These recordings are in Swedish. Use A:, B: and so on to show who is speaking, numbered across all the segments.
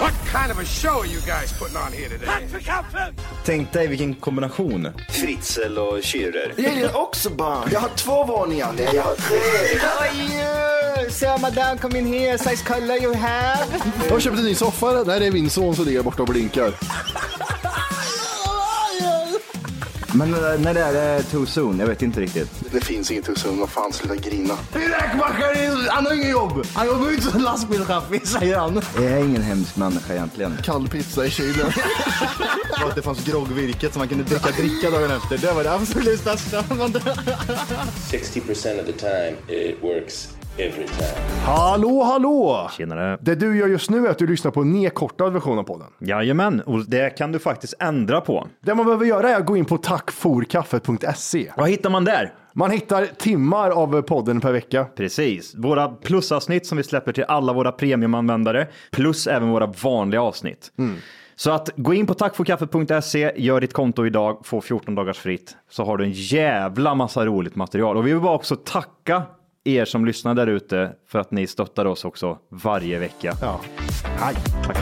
A: What kind of a show are you guys putting on here today? Tack för kaffet!
B: Tänk dig vilken kombination.
C: Fritzl och Schürrer.
D: Jag gillar också barn. Jag har två våningar. Nej, jag har tre.
E: How are you? So madame, come in here. Size color you have.
F: Jag har köpt en ny soffa. Där är min son som ligger borta och blinkar.
B: Men eh, när det är det too soon? Jag vet inte riktigt.
D: Det finns inget hos honom. Vad fan, sluta grina.
F: Min räkmackare, han har inget jobb. Han jobbar ju inte som lastbilschaffis, säger han.
B: Jag är ingen hemsk människa egentligen.
F: Kall pizza i kylen.
B: Och att det fanns groggvirket som man kunde dricka dricka dagen efter. Det var det absolut största.
C: 60% of the time, it works every time.
F: hallå, hallå!
G: Tjenare.
F: Det du gör just nu är att du lyssnar på en nedkortad version av podden.
G: Jajamän, och det kan du faktiskt ändra på.
F: Det man behöver göra är att gå in på tackforkaffet.se.
G: Vad hittar man där?
F: E. Man hittar timmar av podden per vecka.
G: Precis, våra plusavsnitt som vi släpper till alla våra premiumanvändare, plus även våra vanliga avsnitt.
B: Mm.
G: Så att gå in på tackforkaffet.se, gör ditt konto idag, få 14 dagars fritt, så har du en jävla massa roligt material. Och vi vill bara också tacka er som lyssnar där ute för att ni stöttar oss också varje vecka.
F: Ja.
G: Aj, tack.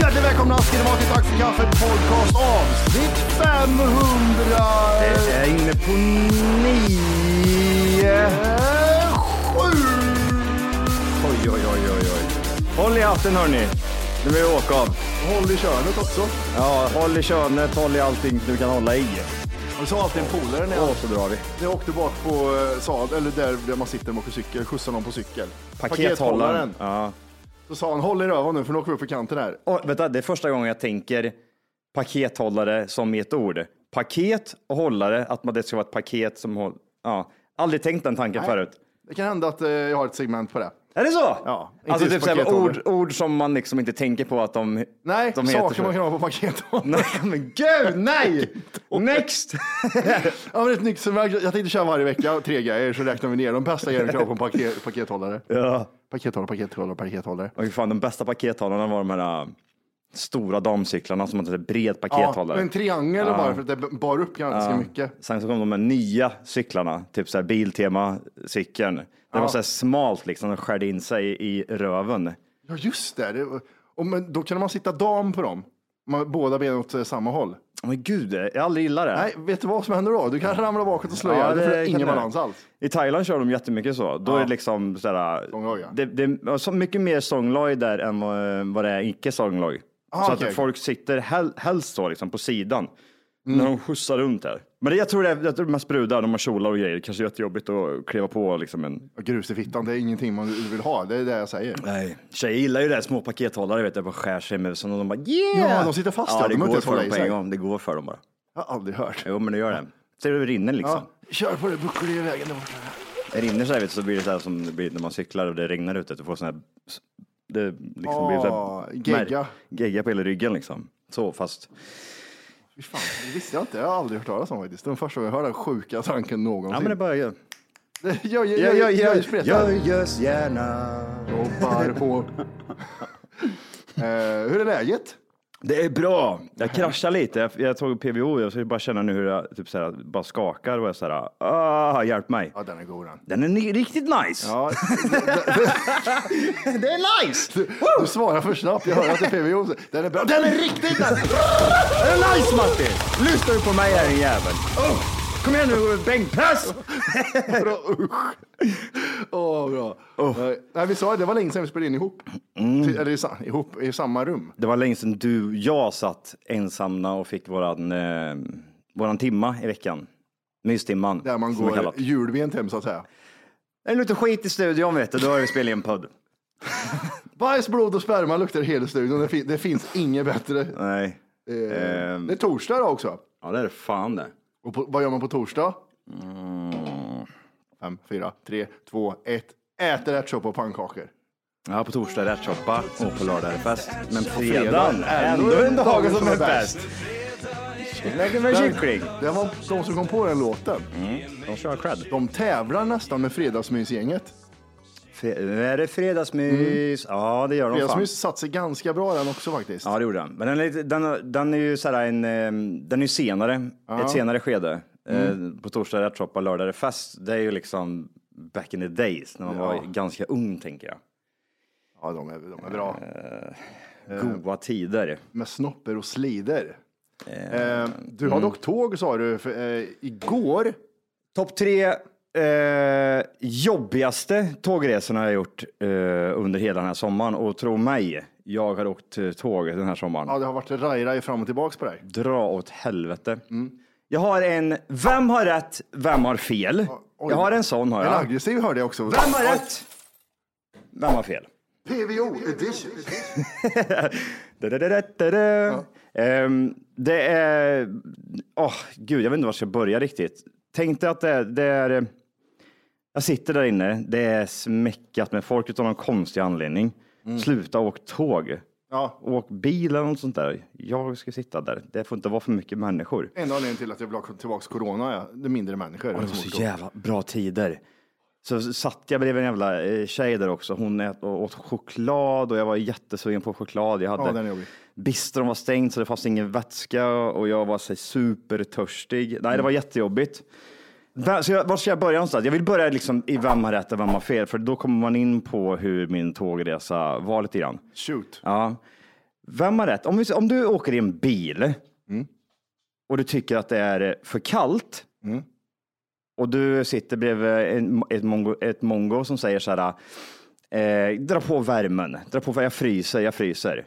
F: Hjärtligt välkomna ska ni vara till Tack för kaffet podcast avsnitt 500.
B: Jag är inne på nio.
F: Sju!
B: Oj, oj, oj, oj, oj. Håll i hatten hörni. Nu vill vi åka av.
F: Håll i könet också.
B: Ja, håll i könet, håll i allting du kan hålla i.
F: Och så alltid en polare när jag,
B: Och så drar vi.
F: när jag åkte bak på eh, Saab, eller där, där man sitter och åker cykel, skjutsar någon på cykel.
B: Pakethållaren. Ja.
F: Så sa han håll i röven nu för nu åker vi upp för kanten här.
B: Och, vänta, det är första gången jag tänker pakethållare som i ett ord. Paket och hållare, att man, det ska vara ett paket som håller. Ja. Aldrig tänkt den tanken förut.
F: Det kan hända att eh, jag har ett segment på det.
B: Är det så?
F: Ja, inte
B: alltså
F: just
B: typ såhär, ord,
F: pakethållare.
B: ord som man liksom inte tänker på att de,
F: Nej,
B: de heter
F: saker
B: så.
F: man kan ha på pakethållaren.
B: Nej, men gud, nej! Next!
F: Ja, men ett nytt segment. Jag tänkte köra varje vecka tre grejer så räknar vi ner de bästa grejerna vi kan ha på en paket, pakethållare.
B: ja.
F: Pakethållare, pakethållare, pakethållare.
B: Och fan, de bästa pakethållarna var de här äh, stora damcyklarna som hade en bred
F: Ja,
B: pakethållare.
F: en triangel bara för att det bar upp ganska mycket.
B: Sen så kom de här nya cyklarna, typ så här Biltema-cykeln. Det var så här smalt liksom, de skärde in sig i röven.
F: Ja, just det. det och men då kan man sitta dam på dem. Man, båda benen åt eh, samma håll.
B: Men gud, jag har aldrig gillat det.
F: Nej, vet du vad som händer då? Du kan ramla bakåt och slå ihjäl dig för det är
B: kan
F: ingen
B: det.
F: balans alls.
B: I Thailand kör de jättemycket så. Då är det liksom sådär,
F: Songloj, ja.
B: det, det är så mycket mer songloj där än vad, vad det är icke songloj.
F: Ah,
B: så
F: okej.
B: att folk sitter hel, helst så liksom på sidan
F: Mm.
B: när de skjutsar runt där. Men det, jag tror det är, jag tror de här sprudar, de har kjolar och grejer. Kanske jättejobbigt att kliva på liksom en.
F: Och Grus i fittan, det är ingenting man vill ha. Det är det jag säger.
B: Nej. Tjejer gillar ju det här, små pakethållare vet jag, bara skär sig i musen och de bara yeah!
F: Ja, de sitter fast där.
B: ja, det
F: De har inte
B: går
F: ens
B: för
F: hålla
B: dem
F: i
B: på
F: sig.
B: en gång. Det går för dem bara.
F: Jag har aldrig hört.
B: Jo, men det gör det. Ser du, det rinner liksom.
F: Ja, kör på det, bucklor i vägen där borta.
B: Det rinner så här, vet du, så blir det så här som det blir när man cyklar och det regnar ute. Du får sån här, det liksom blir så här,
F: Ah, gegga.
B: mär- gegga på hela ryggen liksom. Så fast.
F: Fy fan, det visste jag inte. Jag har aldrig hört talas om faktiskt. Det är den första gången jag hör den sjuka tanken någonsin.
B: Ja men det bara gör.
F: jag, jag, jag, jag, jag, jag,
B: Göjes gärna.
F: jobbar på. eh, hur är läget?
B: Det är bra. Jag kraschar lite. Jag, jag tog PVO. Jag ska bara känna nu hur jag typ så här, bara skakar och jag så här, ah, hjälp mig.
F: Ja, den är god den.
B: Den är ni- riktigt nice.
F: Ja,
G: Det är nice!
F: du, du svarar för snabbt. Jag hör att det är PVO. Den är bra. Den är riktigt nice! Den är nice Martin!
B: Lyssna nu på mig här din jävel. Oh, kom igen nu bänkpress!
F: Bra, usch. Åh, bra. Nej, Nej, vi sa ju, det var länge sedan vi spelade in ihop. Eller i, sa- ihop, i samma rum.
B: Det var länge sedan du och jag satt ensamma och fick våran, eh, våran timma i veckan. Mystimman.
F: Där man
B: som det
F: går
B: kallas.
F: julbent hem så att säga.
B: Det är lite skit i studion vet du, då har vi spelat in podd.
F: Bajs, blod och sperma luktar i hela studion. Det, fin- det finns inget bättre.
B: Nej.
F: Eh,
B: Ehm.
F: Det är torsdag idag också.
B: Ja det är fan det.
F: Och på, vad gör man på torsdag?
B: Mm.
F: Fem, fyra, tre, två, ett. Äter ärtsoppa och pannkakor.
B: Ja, på torsdag är det ärtsoppa och på lördag är det fest. Men
F: fredag
B: fredagen
F: är
B: är ändå en dag som är bäst. Lägger med
F: Den-
B: kyckling.
F: Det var de som kom på den låten.
B: De kör cred.
F: De tävlar nästan med Fredagsmysgänget.
B: Fre- nu är det fredagsmys. Ja, det gör de fan.
F: Fredagsmys satt sig ganska bra den också faktiskt.
B: Ja, det gjorde den. Men den är, lite- den, den är ju så här en, ehm, den är ju senare, ett senare skede.
F: Mm.
B: Eh, På torsdag är det ärtsoppa, lördag är det fest. Det är ju liksom back in the days när man var ganska ung tänker jag.
F: Ja, de är, de är bra.
B: Eh.
F: Eh.
B: Goa tider.
F: Med snopper och slider. Eh, du
B: Mm.
F: har dock tåg sa du för, eh, igår.
B: Topp tre eh, jobbigaste tågresorna jag gjort eh, under hela den här sommaren. Och tro mig, jag har åkt eh, tåg den här sommaren.
F: Ja, det har varit raj-raj fram och tillbaks på dig.
B: Dra åt helvete.
F: Mm.
B: Jag har en, vem har rätt, vem har fel?
F: oj.
B: Jag har en sån har
F: En
B: jag.
F: aggressiv hörde jag också.
B: Vem har rätt? Vem har fel?
F: PVO edition.
B: Da-da-da-da-da-da. Ehm, det är... Åh, gud, jag vet inte var jag ska börja riktigt. Tänk dig att det är, det är... Jag sitter där inne, det är smäckat med folk utav någon konstig anledning. Sluta åk tåg.
F: Ja,
B: Åk bil eller något sånt där. Jag ska sitta där. Det får inte vara för mycket människor.
F: enda anledningen till att jag vill ha tillbaka corona är det är mindre människor.
B: Och det var
F: som
B: så
F: åker.
B: jävla bra tider. Så satt jag bredvid en jävla eh, tjej där också. Hon ät, och åt choklad och jag var jättesugen på choklad. Jag
F: Ja,
B: hade
F: den är jobbig.
B: bistron var stängd så det fanns ingen vätska och jag var så här, supertörstig. Nej,
F: Mm.
B: det var jättejobbigt. Där- Så jag, var ska jag börja någonstans? Jag vill börja liksom i vem har rätt och vem har fel, för då kommer man in på hur min tågresa var lite grann.
F: Shoot.
B: Ja. Vem har rätt? Om, vi, om du åker i en bil och du tycker att det är för kallt och du sitter bredvid en, ett, mongo, ett mongo som säger så här, eh, dra på värmen, dra på, jag fryser, jag fryser.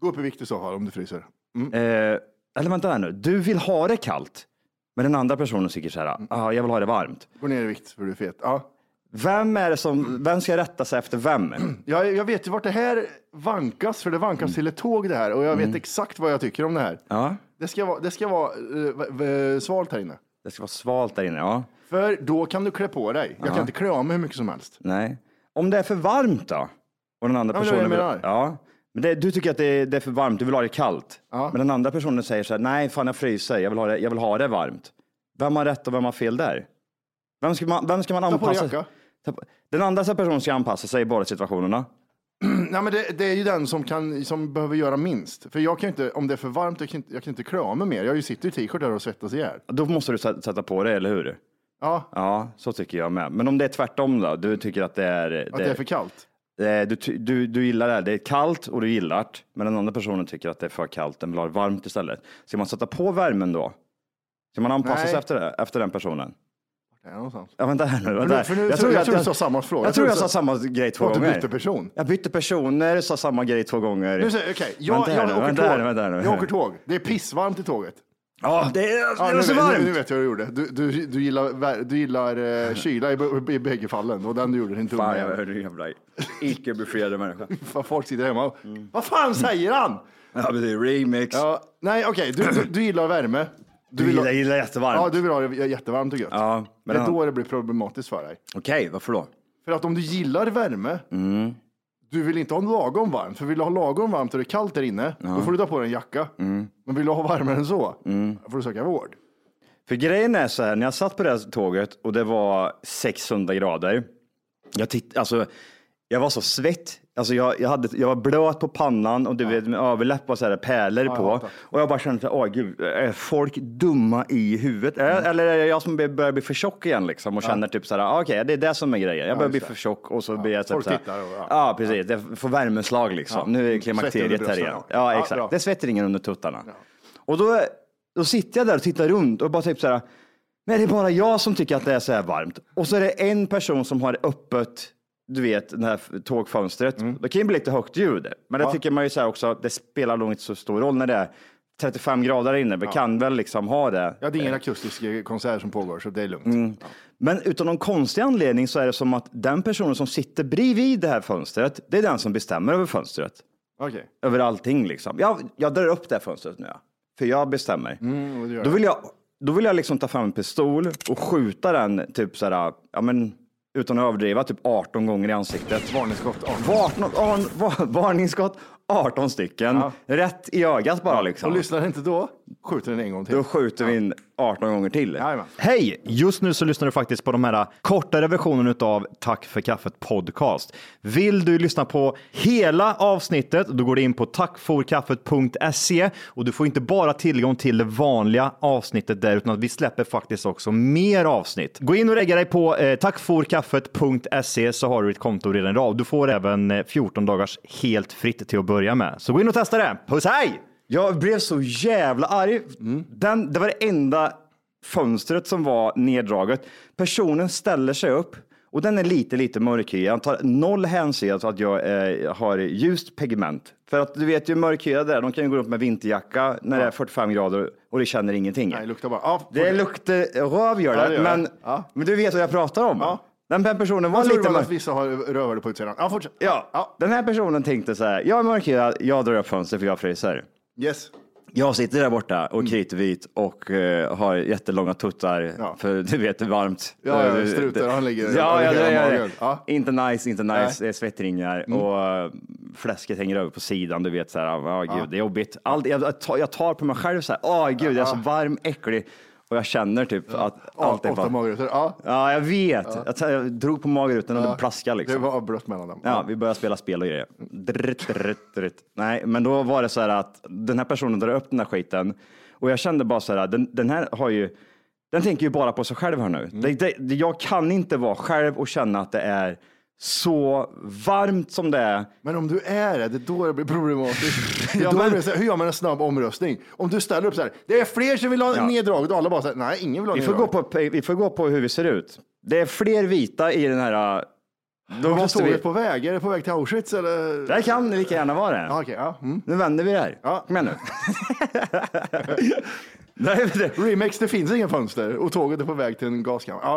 F: Gå upp i vikt i så fall om du fryser.
B: Eh, eller vänta här nu, du vill ha det kallt, men den andra personen tycker så här, ah, jag vill ha det varmt.
F: Gå ner i vikt för du är fet. Ja.
B: Vem är det som, vem ska rätta sig efter vem?
F: Jag, jag vet ju vart det här vankas, för det vankas till ett tåg det här och jag vet exakt vad jag tycker om det här.
B: Mm. Ja,
F: Det ska vara, det ska vara eh, v- v- svalt här inne.
B: det ska vara svalt där inne, ja.
F: För då kan du klä på dig. Jag kan inte klä av mig hur mycket som helst.
B: Nej. Om det är för varmt då? Och den andra
F: Ja, men det är
B: personen
F: det
B: vill,
F: jag menar.
B: ja. Men det, du tycker att det är, det är för varmt, du vill ha det kallt. Men den andra personen säger så här, nej fan jag fryser, jag vill ha det, jag vill ha det varmt. Vem har rätt och vem har fel där? Vem ska man, vem ska man
F: Ta på dig
B: anpassa
F: jacka.
B: Ta på- Den andra personen ska anpassa sig i båda situationerna.
F: Nej, men det, det är ju den som, kan, som behöver göra minst. För jag kan ju inte, om det är för varmt, jag kan inte, jag kan inte klä av mig mer. Jag ju sitter i t-shirt där och svettas ihjäl.
B: Då måste du sä- sätta på det, eller hur?
F: Ja,
B: Ja, så tycker jag med. Men om det är tvärtom då? Du tycker att det är...
F: att det är för kallt.
B: Eh, Du, ty- du, du gillar det, här. det är kallt och du gillar det, men den andra personen tycker att det är för kallt, den vill ha det varmt istället. Ska man sätta på värmen då? Ska man anpassa
F: Nej.
B: sig efter, det, efter den personen?
F: Det är någonstans.
B: Ja, vänta här nu. Vänta.
F: nu-
B: här.
F: för nu- för- jag tror du sa samma fråga.
B: Jag tror jag sa samma grej två
F: Och att du
B: gånger.
F: bytte person.
B: Jag bytte personer, sa samma grej två gånger.
F: Nu säger okej, jag,
B: Vänta här
F: jag,
B: nu,
F: åker
B: vänta här nu, vänta här nu.
F: tåg. jag åker tåg. Det är pissvarmt i tåget.
B: Ja, det är, det
F: Ja,
B: är
F: nu,
B: så
F: vet-
B: varmt.
F: nu, nu vet jag hur du gjorde. Du, du, du gillar, vär- du gillar eh, kyla i, b- i bägge fallen. Det var den du gjorde, din dumma
B: Fan, jag
F: jävel.
B: hörde ju jävla icke-befriade människa.
F: Fan, Folk sitter hemma och,
B: Mm.
F: vad fan säger han?
B: Ja, men det är remix.
F: Ja, nej, okej, du, du, du gillar värme.
B: du
F: vill
B: gillar,
F: ha-
B: gillar jättevarmt.
F: Ja, du vill ha det jättevarmt och gött.
B: Ja,
F: det
B: men
F: är
B: han-
F: då det blir problematiskt för dig.
B: Okej, varför då?
F: För att om du gillar värme, du vill inte ha lagom varmt. För vill du ha lagom varmt och det är kallt där inne, då får du ta på dig en jacka.
B: Mm.
F: Men vill du ha varmare än så, då får du söka vård.
B: För grejen är så här, när jag satt på det här tåget och det var 600 grader. Jag, titt, alltså, jag var så svett, Alltså jag, jag, hade, jag var blöt på pannan och du vet, min överläpp var så här pärlor på. och jag bara kände, så här, åh gud, är folk dumma i huvudet? Är-
F: Mm.
B: Eller är det jag som börjar bli för tjock igen liksom och känner typ så här, ah, okej, det är det som är grejen. Jag börjar bli för tjock och så blir jag typ
F: Folk
B: så här,
F: tittar och- ja. Mm.
B: ja. precis, jag får värmeslag liksom. Nu är klimakteriet här
F: brösten,
B: igen.
F: ja.
B: Ja,
F: Ja,
B: exakt.
F: bra.
B: det svettar ingen under tuttarna. Och då, då sitter jag där och tittar runt och bara typ så här, men det är bara jag som tycker att det är så här varmt. Och så är det en person som har öppet, du vet, det här tågfönstret. Det kan ju bli lite högt ljud, men det tycker man ju så här också, det spelar nog inte så stor roll när det är 35 grader inne. Vi kan väl liksom ha det.
F: Ja, det är ingen akustisk eh, konsert som pågår, så det är lugnt.
B: Mm. Men utan någon konstig anledning så är det som att den personen som sitter bredvid det här fönstret, det är den som bestämmer över fönstret.
F: Okej.
B: Över allting liksom. Jag, jag drar upp det här fönstret nu, ja. för jag bestämmer.
F: och Mm, det gör
B: Då vill jag, då vill jag liksom ta fram en pistol och skjuta den typ så här, ja men utan att överdriva, typ 18 gånger i ansiktet.
F: Varningsskott. arton.
B: Vartno- arn- va- Varningsskott, 18 stycken, rätt i ögat bara
F: Och
B: liksom.
F: lyssnar inte då, skjuter den en gång till.
B: Då skjuter vi in 18 gånger till.
F: Jajamän.
G: Hej! Just nu så lyssnar du faktiskt på de här kortare versionerna av Tack för kaffet podcast. Vill du lyssna på hela avsnittet, då går du in på tackforkaffet.se och du får inte bara tillgång till det vanliga avsnittet där, utan att vi släpper faktiskt också mer avsnitt. Gå in och lägga dig på eh, tackforkaffet.se så har du ett konto redan idag. Du får även eh, 14 dagars helt fritt till att börja med. Så gå in och testa det. Puss hej! Mm.
B: Jag blev så jävla arg. Den, det var det enda fönstret som var neddraget. Personen ställer sig upp och den är lite, lite mörkhyad. Han tar noll hänsyn till att jag eh, har ljust pigment. För att du vet ju mörkhyade där, de kan ju gå runt med vinterjacka när det är 45 grader och de känner ingenting.
F: Nej, luktar bara. Ja,
B: det luktar röv gör det,
F: Ja, det gör
B: men,
F: det. Ja.
B: men du vet vad jag pratar om.
F: Ja.
B: Den här personen var
F: Jag tror
B: lite
F: det var
B: mörk.
F: att vissa har rövare på utsidan. Ja, fortsätt.
B: Ja, Den här personen tänkte så här, jag är mörkhyad, jag drar upp fönstret för jag fryser.
F: Yes.
B: Jag sitter där borta
F: Mm.
B: och kritvit och eh, har jättelånga tuttar
F: Ja.
B: för du vet det är varmt.
F: Ja, ja,
B: Eh,
F: strutar,
B: det-
F: han ligger-
B: Ja,
F: han
B: ja,
F: ligger
B: det,
F: hela
B: ja,
F: magen. Ja.
B: Inte nice, inte
F: Nej. Mm.
B: nice. Det är svettringar och eh, fläsket hänger över på sidan. Du vet så här, oh, gud, det är jobbigt. Allt, jag, tar, jag tar på mig själv så här, åh gud, jag är så varm, äcklig och jag känner typ att allt är
F: Åtta
B: bara...
F: magrutor. Ja.
B: Ja, jag vet. Jag, tar, jag drog på magrutan och det plaskade liksom.
F: Det var avbrott mellan dem.
B: Ja, vi började spela spel och grejer. Dritt, dritt, dritt. Nej, men då var det så här att den här personen drar upp den här skiten och jag kände bara så här, den, den här har ju, den tänker ju bara på sig själv här nu.
F: Mm.
B: Det, det, det, jag kan inte vara själv och känna att det är så varmt som det är.
F: Men om du är det, det är då det blir problematiskt. Det är
B: Ja,
F: då
B: men-
F: det blir så här, hur gör man en snabb omröstning? Om du ställer upp så här, det är fler som vill ha
B: Ja.
F: neddrag, och alla bara så här, nej, ingen vill ha
B: Vi får,
F: neddrag.
B: gå på, vi får gå på hur vi ser ut. Det är fler vita i den här. Då
F: Vart är
B: måste vi.
F: tåget på väg? Är det på väg till Auschwitz eller?
B: Det här kan lika gärna vara det.
F: Ja, okej, ja. Mm.
B: Nu vänder vi det här.
F: Ja.
B: Kom igen nu. Nej, det,
F: Remix, det finns inga fönster och tåget är på väg till en gaskammare. Ja,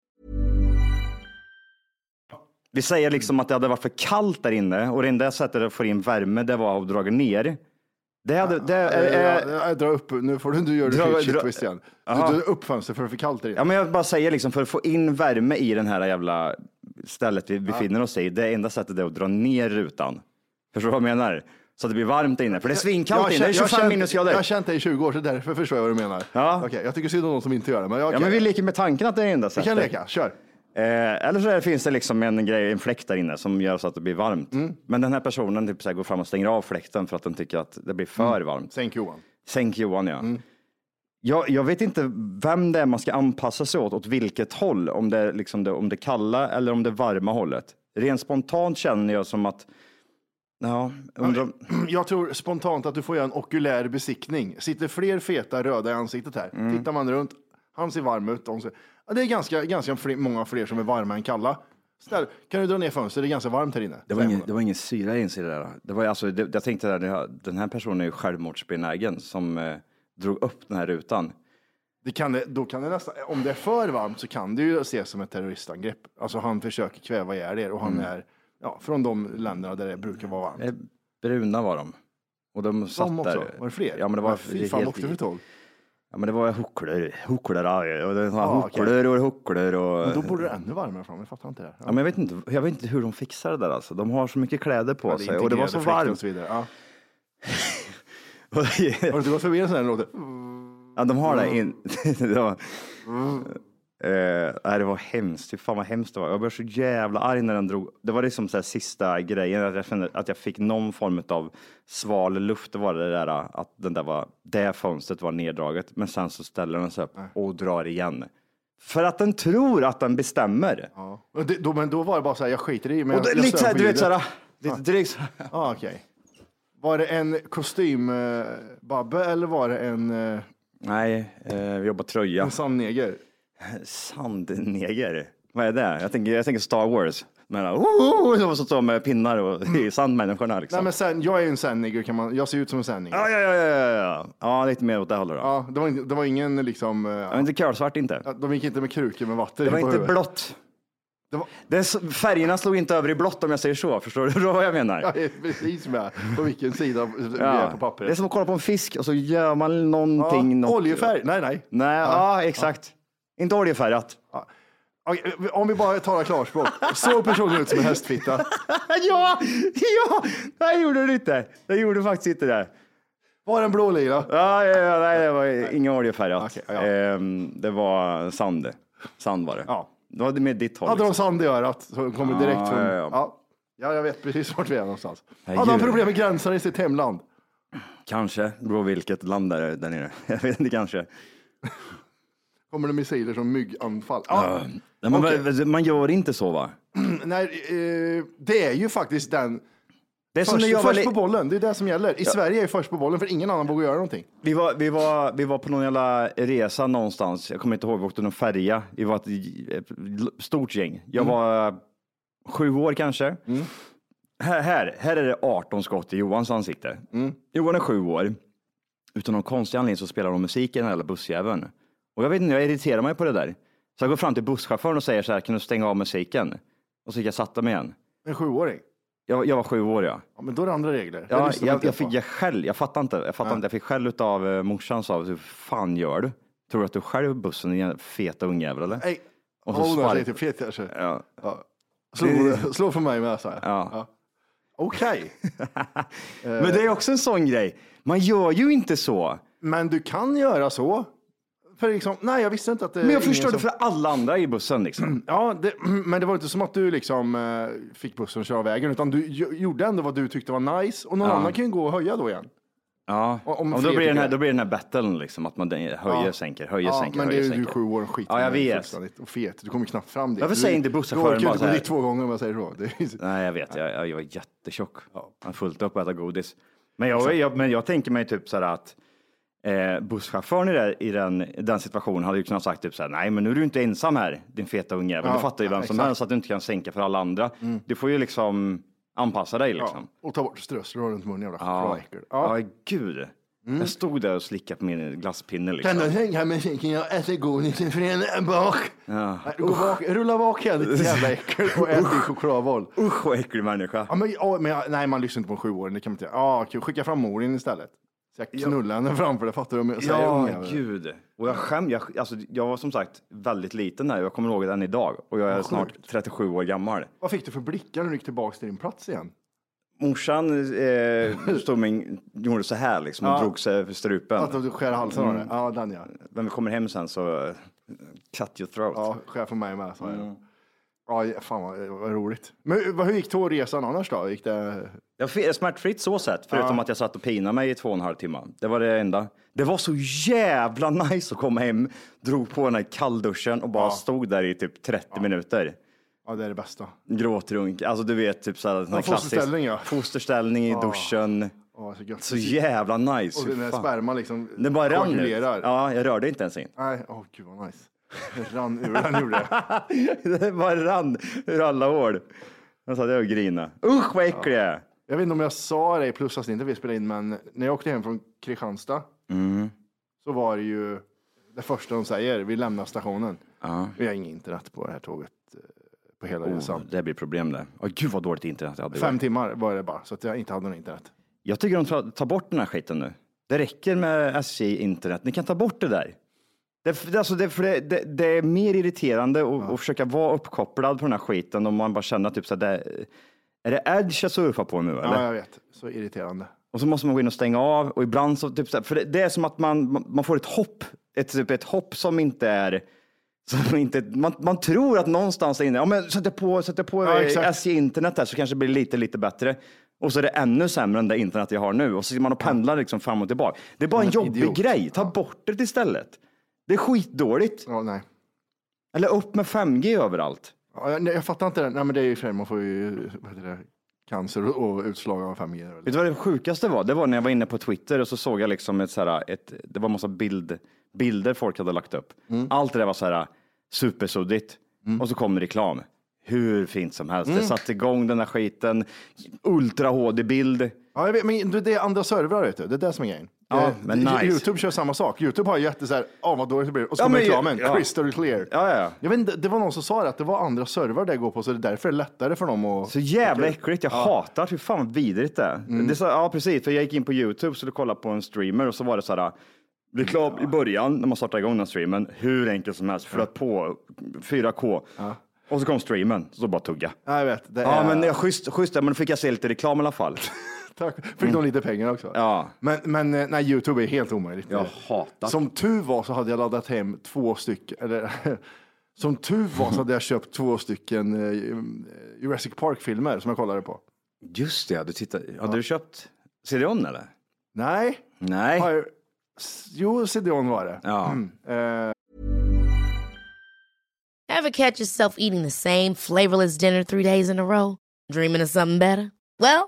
B: Vi säger liksom att det hade varit för kallt där inne och det enda sättet att få in värme det var att dra ner. Det hade, det,
F: eh,
B: eh, eh,
F: eh, dra upp, nu får du, du gör
B: Dra-
F: det
B: dra-
F: shit twist igen. Du
B: Aha.
F: drar upp fönster för det är för kallt där inne.
B: ja, men jag bara säger liksom för att få in värme i den här jävla stället vi befinner oss i. Det enda sättet är att dra ner rutan. Förstår du vad jag menar? Så att det blir varmt där inne. För det är
F: Jag
B: svinkallt
F: har
B: inne. Det är
F: känt- jag har
B: 25
F: känt-
B: minusgrader.
F: Jag har känt dig i 20 år, så därför förstår jag vad du menar.
B: Ja.
F: Okej, jag tycker synd om de som inte gör det. Men, okay.
B: Ja, men vi leker med tanken att det är det enda
F: vi
B: sättet.
F: kan leka, kör.
B: Eh, eller så är- finns det liksom en grej, en fläkt där inne som gör så att det blir varmt.
F: Mm.
B: Men den här personen typ så här går fram och stänger av fläkten för att den tycker att det blir för
F: Mm.
B: varmt.
F: Sänk Johan.
B: Sänk Johan, ja. Jag, jag vet inte vem det är man ska anpassa sig åt, åt vilket håll. Om det är liksom det, om det kalla eller om det varma hållet. Rent spontant känner jag som att, ja, undrar om...
F: Jag tror spontant att du får göra en okulär besiktning. Sitter fler feta röda i ansiktet här?
B: Mm.
F: Tittar man runt, han ser varm ut. De ser... Ja, det är ganska, ganska fler, många fler som är varma än kalla. Snäll, kan du dra ner fönstret? Det är ganska varmt här inne.
B: Det var, ingen, det var ingen syra ens i det där. Det var, ju alltså, det, jag tänkte där, det här- den här personen är ju självmordsbenägen som eh, drog upp den här rutan.
F: Det kan det, då kan det nästan, om det är för varmt så kan det ju ses som ett terroristangrepp. Alltså han försöker kväva ihjäl er och han
B: Mm.
F: är ja, från de länderna där det brukar vara varmt.
B: Eh, Bruna var de. Och de satt
F: också?
B: där.
F: Var det fler?
B: Ja, men det var
F: Men fy fan, åkte vi tåg?
B: Ja, men det var hucklor, hucklor, ja, och det var
F: Ah, okej.
B: hucklor och hucklor och...
F: Men då borde det ännu varmare fram, jag fattar inte det. här.
B: Ja, men jag, vet inte, jag vet inte hur de fixar det där alltså. De har så mycket kläder på
F: Ja,
B: sig och det var så
F: integrerade fläkten
B: varmt.
F: Och så vidare. Ja. Har du inte gått förbi en sån här låt?
B: Ja, de har det.
F: Mm.
B: In... det var... Eh, nej, det var hemskt. Fy fan vad hemskt det var. Jag blev så jävla arg när den drog. Det var liksom så här sista grejen, att jag kände att jag fick någon form av sval luft. Det var det där att den där var, det fönstret var neddraget. Men sen så ställer den sig upp och drar igen. För att den tror att den bestämmer.
F: Och det- då, men då var det bara så här, jag skiter i men
B: Och det,
F: jag,
B: lite så här,
F: jag
B: du vet så
F: stör på
B: här, lite drygt så här.
F: ljudet. Ja, okej. Var det en kostymbabbe eller var det en, eh,
B: Nej, eh, vi jobbar tröja.
F: en sandneger?
B: Sandneger? Vad är det? Jag tänker, jag tänker Star Wars. Men, oh, oh, oh, som står med pinnar och sandmänniskorna liksom.
F: Mm. Nej, men sen, jag är ju en sandneger, kan man, jag ser ut som en sandneger.
B: Ja, ja, ja, ja, ja, ja. ja, lite mer åt det hållet då.
F: Ja, det var, inte- det var ingen liksom... eh,
B: Det var inte kolsvart inte.
F: Ja, De gick inte med krukor med vatten
B: Det
F: i
B: var
F: på
B: inte
F: huvudet.
B: blått.
F: Det var-
B: Det är så- färgerna slog inte över i blått om jag säger så, förstår du vad jag menar?
F: Ja, det är precis med på vilken sida vi
B: Ja.
F: är på pappret.
B: Det är som att kolla på en fisk och så gör man någonting.
F: ja,
B: något.
F: oljefärg. Nej, nej.
B: Nej, ja, exakt. Inte oljefärgat.
F: Okej, om vi bara talar klarspråk. Såg personen ut som en hästfitta?
B: ja, ja, det gjorde du inte. Det gjorde faktiskt inte det.
F: Var den blå lila?
B: Ja, ja, ja, nej, det var inga oljefärgat.
F: Okej, ja.
B: Ehm, det var sand. Sand var det.
F: Ja.
B: Det var med ditt håll.
F: Hade de
B: liksom.
F: sand i örat så kommer direkt
B: Ja,
F: från...
B: ja, ja.
F: Ja. ja, jag vet precis vart vi är någonstans.
B: Ja,
F: Hade han
B: djur.
F: problem med gränserna i sitt hemland?
B: Kanske. Det beror vilket land det är där nere. Jag vet inte, kanske.
F: Kommer det missiler som mygganfall? Ja.
B: Nej, man,
F: Okej.
B: man gör inte så va?
F: Nej, eh, det är ju faktiskt den...
B: Det är som
F: Först,
B: när jag var
F: först
B: li-
F: på bollen, det är det som gäller. I Sverige är först på bollen för ingen annan vågar göra någonting.
B: vi, var, vi, var, vi var på någon jävla resa någonstans. Jag kommer inte ihåg, vi åkte någon färja. Vi var ett, ett stort gäng. Jag var sju år kanske. Här, här, här är det 18 skott i Johans ansikte. Johan är sju år. Utan någon konstig anledning så spelar de musik i den här jävla bussjäveln. Och jag vet inte, jag irriterar mig på det där. Så jag går fram till busschauffören och säger så här, kan du stänga av musiken? Och så gick jag och satte mig igen.
F: En sjuåring.
B: Jag, jag var sju år ja.
F: Ja, men då är det andra regler. Det
B: Ja,
F: lyssnar
B: jag,
F: inte
B: jag
F: på.
B: fick jag skäll. Jag fattar inte. Jag fattar inte. Jag fick skäll utav eh, morsan sa, hur fan gör du? Tror du att du själv bussen, din feta ungjävel eller?
F: Nej.
B: Och
F: Och
B: så
F: så
B: spark-
F: lite fet kanske.
B: Ja.
F: Ja. Slå, slå för mig med så här.
B: Ja.
F: Okej, Eh.
B: Men det är också en sån grej. Man gör ju inte så.
F: men du kan göra så. För liksom, nej, jag visste inte att det
B: Men
F: är
B: jag
F: ingen
B: förstörde
F: som-
B: för alla andra i bussen liksom.
F: Ja, det, men det var inte som att du liksom eh, fick bussen att köra vägen, utan du gj- gjorde ändå vad du tyckte var nice. Och någon annan kan ju gå och höja då igen.
B: Ja,
F: Om- om
B: Ja,
F: fler
B: då, blir den här,
F: tycker-
B: då blir den här battlen liksom, att man den- höjer, sänker, höjer,
F: ja,
B: sänker,
F: men det
B: höjer,
F: är ju du
B: sänker.
F: sju år och skit
B: Ja, jag
F: med dig
B: vet.
F: fullständigt. Och fet, du kommer knappt fram det.
B: Varför
F: Du-
B: säger inte
F: Du
B: busschauffören
F: orkar ju
B: bara
F: inte
B: så
F: gå
B: här-
F: dit två gånger om jag säger så. Det är,
B: Nej, jag vet. Jag, jag, jag var jättetjock. Jag har fullt upp att äta godis. Men jag, jag, men jag tänker mig typ så här att eh, busschauffören i, det, i den, i den situationen hade ju kunnat sagt typ så här, nej, men nu är du inte ensam här, din feta unge.
F: Ja,
B: du fattar ju vem som
F: exakt. Mm.
B: helst att du inte kan sänka för alla andra. Du får ju liksom anpassa dig liksom.
F: ja, och ta bort strössel runt munnen, jävla
B: Ja,
F: chokladäckel.
B: ja. gud.
F: Mm.
B: Jag stod där och slickade på min glasspinne liksom.
F: Kan du tänka mig kicken, jag äter godis för en bak.
B: Ja.
F: Nej, Gå bak, rulla bak igen ditt jävla äckel och ät din chokladboll.
B: Usch vad äcklig människa.
F: Ja, men, ja, men, jag- nej, man lyssnar inte på en sjuåring, det kan man inte göra. Ja, okej, skicka fram morin istället. Så jag knullar henne framför det, fattar du? Men jag säger
B: Ja,
F: unga.
B: gud. Och jag skäms. Jag, alltså, jag var som sagt väldigt liten när jag kommer ihåg den idag och jag är snart 37 år gammal.
F: Vad fick du för blickar när du gick tillbaka till din plats igen?
B: Morsan eh, stod med, gjorde så här liksom och
F: Ja.
B: drog sig för strupen. Mm.
F: Att du skär halsen av det? Ja, den ja.
B: När vi kommer hem sen så eh, cut your throat.
F: Ja, skär för mig med, sa jag.
B: Mm.
F: Ja, fan vad, vad roligt. Men vad- hur gick tågresan annars då? Gick det...
B: Jag fick smärtfritt så sett, förutom att jag satt och pinade mig i två och en halv timme. Det var det enda. Det var så jävla nice att komma hem, drog på den här kallduschen och bara stod där i typ 30 minuter.
F: Ja, det är det bästa.
B: Gråtrunk, alltså du vet typ såhär,
F: Ja, fosterställning, ja.
B: Fosterställning i
F: Ja.
B: duschen.
F: Ja, så gött.
B: Så jävla nice.
F: Och
B: fy
F: den där
B: fan.
F: sperman liksom
B: Det bara rann ut.
F: koagulerar.
B: Ja, jag rörde inte ens in.
F: Nej, åh gud vad nice. Det rann ur den gjorde det.
B: det bara rann ur alla hål. Jag satt där och grinade. Usch vad äcklig jag är.
F: Jag vet inte om jag sa det i plusavsnittet vi spelade in, men när jag åkte hem från Kristianstad så var det ju det första de säger, vi lämnar stationen. Vi har inget internet på det här tåget eh, på hela
B: Oh,
F: resan.
B: det blir problem där. Åh gud vad dåligt internet jag hade. igår.
F: Fem timmar var det bara, så att jag inte hade något internet.
B: Jag tycker de tar, tar bort den här skiten nu. Det räcker med SJ internet. Ni kan ta bort det där. Det, det, alltså det, för det, det, det är mer irriterande att, att försöka vara uppkopplad på den här skiten om man bara känner typ så här, det, är det edge jag surfar på nu eller?
F: Ja, jag vet. Så irriterande.
B: Och så måste man gå in och stänga av och ibland så typ så här, för det, det är som att man, man- man får ett hopp, ett, typ ett hopp som inte är som inte, man, man tror att någonstans där inne, ja men sätter på, sätter på
F: Ja,
B: eh,
F: exakt.
B: SJ internet här så kanske det blir lite, lite bättre. Och så är det ännu sämre än det internet jag har nu och så sitter man och pendlar liksom fram och tillbaka. Det är bara en
F: Som en
B: jobbig
F: idiot.
B: grej, ta bort det istället. Det är skitdåligt.
F: Ja, nej.
B: Eller upp med 5G överallt.
F: Ja, jag, nej, jag fattar inte det. Nej, men det är ju för man får ju vad heter det, cancer och och utslag av 5G. eller?
B: Vet du vad det sjukaste var? Det var när jag var inne på Twitter och så såg jag liksom ett, så här, ett det var en massa bild, bilder folk hade lagt upp. Allt det där var så här supersuddigt och så kom reklam. Hur fint som helst. Det satte igång den där skiten. Ultra HD-bild.
F: Ja, jag vet, men det är andra servrar, vet du. det är det som är grejen.
B: Ja,
F: Eh,
B: men
F: Ju-
B: nice.
F: Youtube kör samma sak. Youtube har jätte så här, ja vad dåligt det blir. Och så
B: Ja,
F: kommer
B: men-
F: reklamen,
B: ja.
F: crystal clear.
B: Ja, ja, ja.
F: Jag vet inte, det var någon som sa det, att det var andra servrar det går på, så det är därför det är lättare för dem att...
B: Så jävla äckligt. Jag hatar hur fan vad vidrigt det är. det är så, Ja, precis. För jag gick in på YouTube och skulle kolla på en streamer och så var det så här reklam i början när man startade igång den här streamen. Hur enkelt som helst. Flöt på 4K. Och så kom streamen, så bara tugga.
F: Ja, jag vet. Det
B: Ja,
F: är...
B: men ja, schysst, schysst, ja, men då fick jag se lite reklam i alla fall.
F: Tack. Fick de lite pengar också?
B: Mm. Ja.
F: Men, men eh, nej, Youtube är helt omöjligt.
B: Jag hatar.
F: Som tur var så hade jag laddat hem två stycken, eller som tur var så hade jag köpt två stycken eh, Jurassic Park-filmer som jag kollade på.
B: Just det, ja, du tittar. Hade du köpt CD-ON eller?
F: Nej,
B: Nej.
F: har jag... jo, CDON var det.
B: Ja.
H: Ever catch yourself eating the same flavorless dinner three days in a row? Dreaming of something better? Well,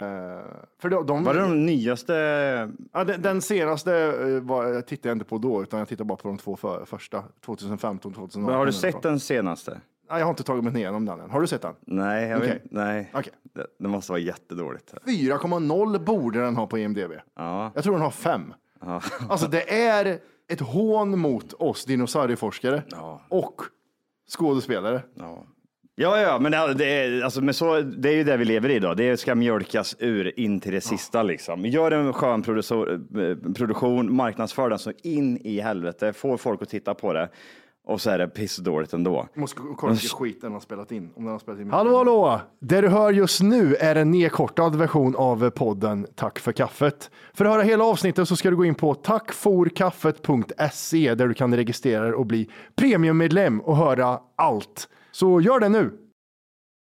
F: Eh, för de, de,
B: Var det de nyaste?
F: ja, den, den senaste eh, var, jag tittade jag inte på då, utan jag tittade bara på de två för, första, 2015 2018.
B: Har du sett den senaste?
F: Nej, jag har inte tagit mig igenom den än. Har du sett den?
B: Nej, jag
F: Okej.
B: vet, nej.
F: Okej.
B: Det, det måste vara jättedåligt.
F: 4,0 borde den ha på IMDB.
B: Ja.
F: Jag tror den har 5. Alltså det är ett hån mot oss dinosaurieforskare
B: Ja.
F: och skådespelare.
B: Ja. Ja, ja, men det, det, är, alltså, men så, det är ju det vi lever i idag. Det ska mjölkas ur in till det sista. Liksom. Gör en skön producer- eh, produktion, marknadsför den så in i helvete, får folk att titta på det och så är det pissdåligt ändå.
F: Jag måste kolla hur mycket skit den har spelat in. Om den har spelat in hallå, hallå! Det du hör just nu är en nedkortad version av podden Tack för kaffet. För att höra hela avsnittet så ska du gå in på tackforkaffet.se där du kan registrera dig och bli premiummedlem och höra allt. Så gör det nu!